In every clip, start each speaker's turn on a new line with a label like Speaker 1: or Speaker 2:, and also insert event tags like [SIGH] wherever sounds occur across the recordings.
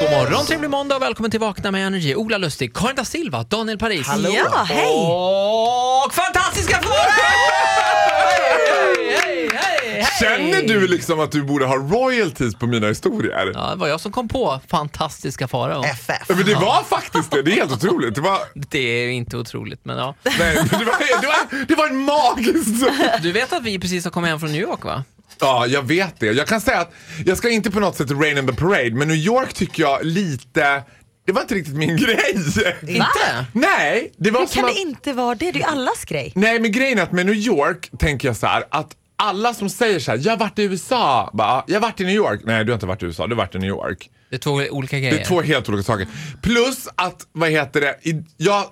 Speaker 1: God morgon, trevlig måndag och välkommen till Vakna med Energy. Ola Lustig, Karin da Silva, Daniel Paris.
Speaker 2: Hallå.
Speaker 3: Ja, hej!
Speaker 1: Och fantastiska Flora!
Speaker 2: Känner du liksom att du borde ha royalties på mina historier?
Speaker 1: Ja, det var jag som kom på fantastiska Farao.
Speaker 2: Ja, Men det var faktiskt det, det är helt otroligt. Det var,
Speaker 1: Det är inte otroligt, men ja.
Speaker 2: nej, men det var, det var, det var en magisk...
Speaker 1: Du vet att vi precis har kommit hem från New York, va?
Speaker 2: Ja, jag vet det. Jag kan säga att jag ska inte på något sätt rain in the parade, men New York tycker jag lite... Det var inte riktigt min [LAUGHS] grej.
Speaker 1: Inte?
Speaker 2: Nej, det var
Speaker 3: Hur
Speaker 2: som
Speaker 3: kan
Speaker 2: att...
Speaker 3: det inte vara det? Det är ju allas grej.
Speaker 2: Nej, men grejen är att med New York tänker jag så här att alla som säger så här, jag har varit i USA, bara, jag har varit i New York. Nej, du har inte varit i USA, du har varit i New York.
Speaker 1: Det är två olika grejer.
Speaker 2: Det är två helt olika saker. Plus att, vad heter det, i- jag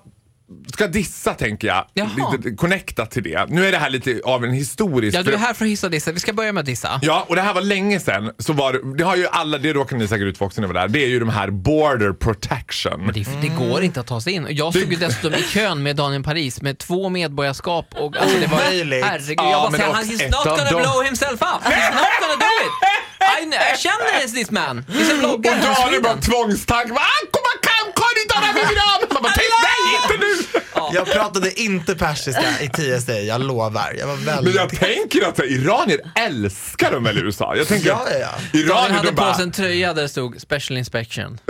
Speaker 2: ska dissa tänker jag.
Speaker 1: Jaha.
Speaker 2: Lite connecta till det. Nu är det här lite av en historisk...
Speaker 1: Ja, du är här för att hissa och dissa. Vi ska börja med att dissa.
Speaker 2: Ja, och det här var länge sedan. Så var det, det har ju alla, det råkade ni säkert ut för också när ni var där. Det är ju de här border protection.
Speaker 1: Det, det går inte att ta sig in. Och Jag stod ju dessutom i kön med Daniel Paris med två medborgarskap och alltså det var...
Speaker 4: Omöjligt.
Speaker 1: Herregud,
Speaker 2: Ja,
Speaker 1: jag bara
Speaker 2: men
Speaker 1: säger,
Speaker 2: också
Speaker 1: han is
Speaker 2: ett
Speaker 1: not
Speaker 2: av
Speaker 1: gonna
Speaker 2: dem."
Speaker 1: blow himself up. He's not gonna do it. I, kn- I känner this, this man. He's a
Speaker 2: Och
Speaker 1: blogger. from
Speaker 2: Daniel bara
Speaker 1: Sweden.
Speaker 2: tvångstank. Va? Kom och kom, kom inte av
Speaker 1: [LAUGHS]
Speaker 2: med min Man bara, "Tänk, nej inte nu!
Speaker 4: Jag pratade inte persiska i TSA, jag lovar. Jag var
Speaker 2: Men
Speaker 4: väldigt...
Speaker 2: jag tänker att så här, iranier älskar dem väl i USA? Jag tänker
Speaker 4: Ja, ja, ja.
Speaker 1: Daniel
Speaker 2: iranier,
Speaker 1: hade
Speaker 2: de
Speaker 1: på
Speaker 2: bara...
Speaker 1: sig en tröja där det stod Special Inspection.
Speaker 2: [LAUGHS]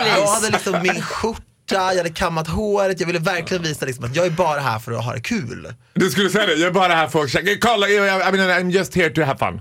Speaker 4: Jag hade liksom min skjorta, jag hade kammat håret, jag ville verkligen visa liksom att jag är bara här för att ha det kul.
Speaker 2: Du skulle säga det, jag är bara här för att checka. Kolla, jag- jag- I mean, I'm just here to have fun.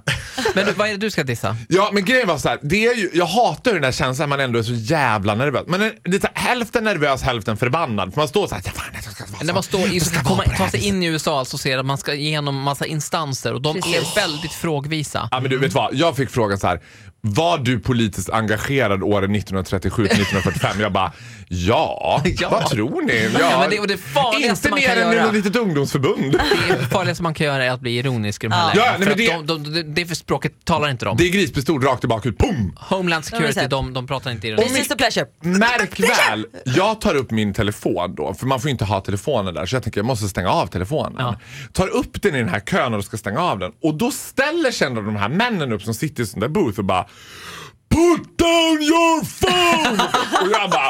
Speaker 1: Men du, vad är det du ska dissa?
Speaker 2: Ja, men grejen var så här, det är ju, jag hatar ju den där känslan man ändå är så jävla nervös. Man är lite hälften nervös, hälften förbannad. För man står så här, "Ja, fan, jag ska,
Speaker 1: När man står i,
Speaker 2: jag ska
Speaker 1: komma,
Speaker 2: vara på det
Speaker 1: ta
Speaker 2: här
Speaker 1: sig in i USA alltså och ser att man ska igenom massa instanser och de är väldigt frågvisa.
Speaker 2: Ja, men du vet vad, jag fick frågan så här. Var du politiskt engagerad åren 1937 till 1945? Jag bara, ja,
Speaker 1: [LAUGHS] Ja.
Speaker 2: vad tror ni? Ja,
Speaker 1: men det är det farligaste
Speaker 2: inte
Speaker 1: man kan
Speaker 2: mer än
Speaker 1: göra.
Speaker 2: ett litet ungdomsförbund.
Speaker 1: Det farligaste man kan göra är att bli ironisk i de här
Speaker 3: Ja.
Speaker 1: lägena.
Speaker 2: Ja, nej,
Speaker 1: för
Speaker 2: men
Speaker 1: att
Speaker 2: det-
Speaker 1: de, de, de, det för språket talar inte de.
Speaker 2: Det är grispistol rakt tillbaka ut, pum!
Speaker 1: Homeland Security,
Speaker 3: Ja, men så-
Speaker 1: de, de pratar inte ironi.
Speaker 2: Om-
Speaker 3: Precis the pleasure.
Speaker 2: Märk väl, jag tar upp min telefon då, för man får ju inte ha telefonen där, så jag tänker jag måste stänga av telefonen.
Speaker 1: Ja.
Speaker 2: Tar upp den i den här kön och ska stänga av den och då ställer sig en av de här männen upp som sitter i sån där booth och bara Put down your phone! och jag bara,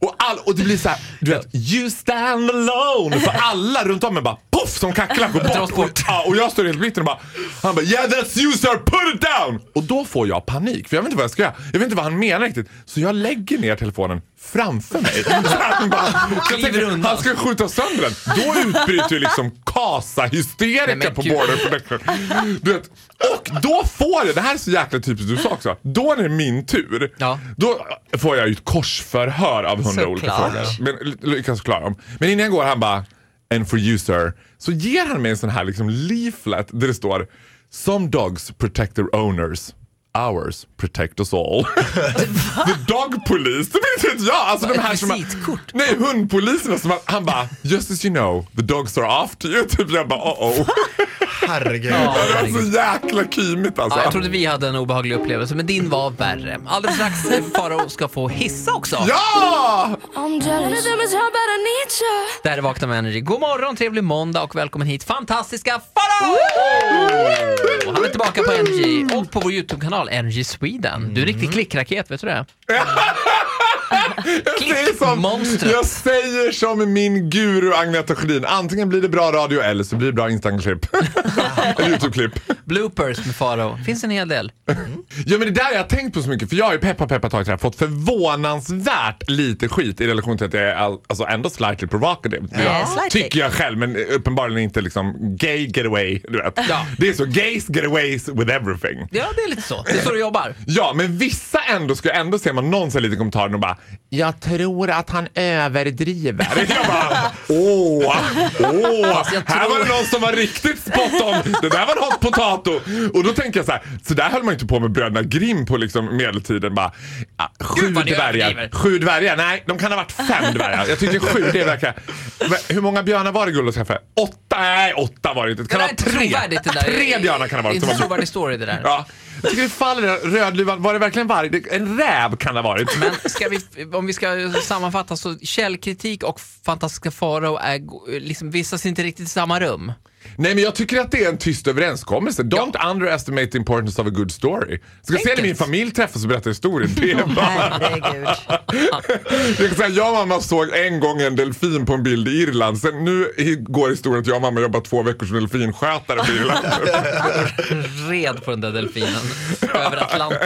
Speaker 2: och, all, och det blir så här, du vet, you stand alone. För alla runt om mig bara poff som kacklar går
Speaker 1: Dras
Speaker 2: bort.
Speaker 1: bort.
Speaker 2: Ja, och jag står helt blicken och bara, han bara yeah that's you sir, put it down! Och då får jag panik för jag vet inte vad jag ska göra. Jag vet inte vad han menar riktigt. Så jag lägger ner telefonen framför mig. Så han, bara, jag
Speaker 1: Kliver
Speaker 2: tänker,
Speaker 1: undan.
Speaker 2: han ska skjuta sönder den. Då utbryter ju liksom
Speaker 1: Nej,
Speaker 2: kasa-hysterika
Speaker 1: men
Speaker 2: på
Speaker 1: gud.
Speaker 2: border protection. Du vet, och då får jag, det här är så jäkla typiskt du sa också, då när det är min tur,
Speaker 1: Ja.
Speaker 2: då får jag ju ett korsförhör av hundra olika
Speaker 3: Såklart.
Speaker 2: frågor. Men ly- lyckas klara dem. Men innan jag går han bara “And for you sir” så ger han mig en sån här liksom leaflet där det står “Some dogs protect their owners” Ours protect us all. The dog police. Det vet inte jag. Alltså de
Speaker 1: Ett
Speaker 2: här som...
Speaker 1: visitkort.
Speaker 2: Nej, hundpoliserna som... Han bara, just as you know, the dogs are after you. [LAUGHS] Typ jag bara, oh oh.
Speaker 4: Herregud.
Speaker 1: Ja.
Speaker 2: Det var så jäkla kymigt alltså.
Speaker 1: Ja, jag trodde vi hade en obehaglig upplevelse, men din var värre. Alldeles strax eh, Farao ska få hissa också.
Speaker 2: Ja!
Speaker 5: I'm jealous. One of them is how bad I need you.
Speaker 1: Det här är Vakna med Energy. God morgon, trevlig måndag och välkommen hit fantastiska Farao! Och Han är tillbaka på Energy och på vår YouTube-kanal Energy Sweden. Du är en
Speaker 2: Mm.
Speaker 1: riktig klickraket, vet du
Speaker 2: [LAUGHS]
Speaker 1: det?
Speaker 2: Jag säger, som,
Speaker 1: Monstret.
Speaker 2: jag säger som min guru Agneta Sjödin. Antingen blir det bra radio eller så blir det
Speaker 1: [LAUGHS]
Speaker 2: bra Instagram-klipp. Eller YouTube-klipp.
Speaker 1: Bloopers med Farao. Finns en hel del.
Speaker 2: Ja men det där har jag tänkt på så mycket för jag har ju peppa peppa tagit det här fått förvånansvärt lite skit i relation till att jag är all, alltså ändå slightly provocative. Det
Speaker 3: Ja,
Speaker 2: jag-
Speaker 3: slightly.
Speaker 2: Tycker jag själv men uppenbarligen inte liksom gay getaway. Du vet.
Speaker 1: Ja.
Speaker 2: Det är så gays getaways with everything.
Speaker 1: Ja, det är lite så. Det är så du jobbar.
Speaker 2: Ja, men vissa ändå ska jag ändå se man någon säger lite i kommentaren och bara “Jag tror att han överdriver”. [LAUGHS] jag bara “Åh, åh, här var det någon som var riktigt spot on, det där var en hot potato”. Och då tänker jag så här, så där höll man ju inte på med bröderna Grimm på liksom medeltiden. Bara, "Ja, sju
Speaker 1: Gud, vad ni
Speaker 2: dvärgar,
Speaker 1: överdriver."
Speaker 2: sju dvärgar, nej de kan ha varit fem dvärgar. Jag tycker sju, det verkar... Men Hur många björnar var det Guldos kaffe? Åtta? Nej, åtta var det inte. Det kan
Speaker 1: Det
Speaker 2: ha
Speaker 1: där är
Speaker 2: tre.
Speaker 1: trovärdigt, det där.
Speaker 2: Tre björnar kan det ha varit.
Speaker 1: Det är
Speaker 2: som
Speaker 1: en
Speaker 2: var-
Speaker 1: trovärdig story det där.
Speaker 2: Ja. Jag tycker det faller där. Rödluvan, var det verkligen varg? Det- En räv kan det ha varit.
Speaker 1: Men ska vi, om vi ska sammanfatta så källkritik och fantastiska farao är go- liksom, vistas inte riktigt i samma rum.
Speaker 2: Nej, men jag tycker att det är en tyst överenskommelse. Don't underestimate the importance of a good story. Ska se när min familj träffas och berättar historier.
Speaker 1: [LAUGHS]
Speaker 2: Det är bara...
Speaker 3: Herregud.
Speaker 2: Jag, kan säga, jag och mamma såg en gång en delfin på en bild i Irland. Sen nu i- går historien att jag och mamma jobbar två veckor som delfinskötare
Speaker 1: [LAUGHS]
Speaker 2: på Irland.
Speaker 1: Red på den där [LAUGHS] delfinen över Atlanten.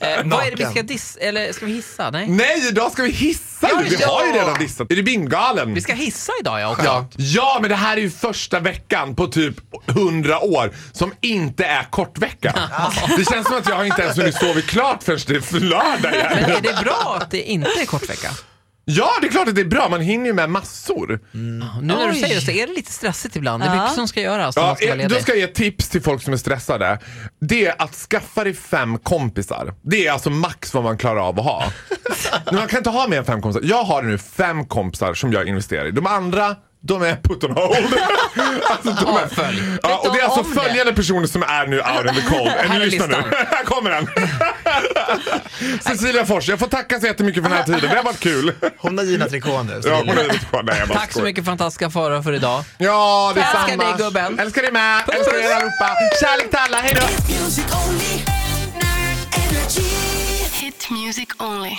Speaker 1: Eh, vad är det vi ska diss... Eller ska vi hissa? Nej.
Speaker 2: Nej, idag ska vi hissa!
Speaker 1: Ja,
Speaker 2: vi
Speaker 1: ja.
Speaker 2: har ju redan dissat. Är det bingalen?
Speaker 1: Vi ska hissa idag ja också.
Speaker 2: Ja. ja, men det här är ju första veckan på typ 100 år som inte är kortvecka. Det känns som att jag inte ens hunnit sova klart förrän det är lördag igen.
Speaker 1: [LAUGHS] Men är det bra att det inte är kort vecka?
Speaker 2: Ja, det är klart att det är bra. Man hinner ju med massor.
Speaker 1: Nu när du
Speaker 3: Oj.
Speaker 1: säger det så är det lite stressigt ibland. Det är
Speaker 3: Ja.
Speaker 1: mycket som ska göras. när
Speaker 2: Ja,
Speaker 1: man ska vara
Speaker 2: eh, då
Speaker 1: ledig.
Speaker 2: ska jag ge ett tips till folk som är stressade. Det är att skaffa dig fem kompisar. Det är alltså max vad man klarar av
Speaker 1: [LAUGHS]
Speaker 2: att ha. Men man kan inte ha mer än fem kompisar. Jag har nu fem kompisar som jag investerar i. De andra de är put on hold.
Speaker 1: [LAUGHS]
Speaker 2: alltså, de är,
Speaker 1: Avfölj.
Speaker 2: ja, och det är alltså
Speaker 1: Vet de om det?
Speaker 2: följande personer som är nu out in the cold.
Speaker 1: Här
Speaker 2: Är ni
Speaker 1: är
Speaker 2: lyssna nu?
Speaker 1: listan.
Speaker 2: [LAUGHS] Här
Speaker 1: [LAUGHS]
Speaker 2: kommer den. Cecilia Fors, jag får tacka så jättemycket för den
Speaker 1: [LAUGHS]
Speaker 2: här tiden. Det har varit kul.
Speaker 4: Hon har Gina Tricot nu. så
Speaker 2: Ja,
Speaker 4: det
Speaker 2: hon
Speaker 4: är lugnt.
Speaker 2: är lite kvar. Nej, jag bara
Speaker 1: Tack så
Speaker 2: skojar.
Speaker 1: mycket fantastiska Farao för idag.
Speaker 2: Ja, det
Speaker 1: Älskar
Speaker 2: samma.
Speaker 1: dig, gubben.
Speaker 2: Älskar dig med.
Speaker 1: Puss,
Speaker 2: Älskar er
Speaker 1: puss.
Speaker 2: allihopa. Kärlek till alla. Hej då.
Speaker 6: Music only. Energy.
Speaker 7: Hit music only.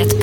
Speaker 8: Ett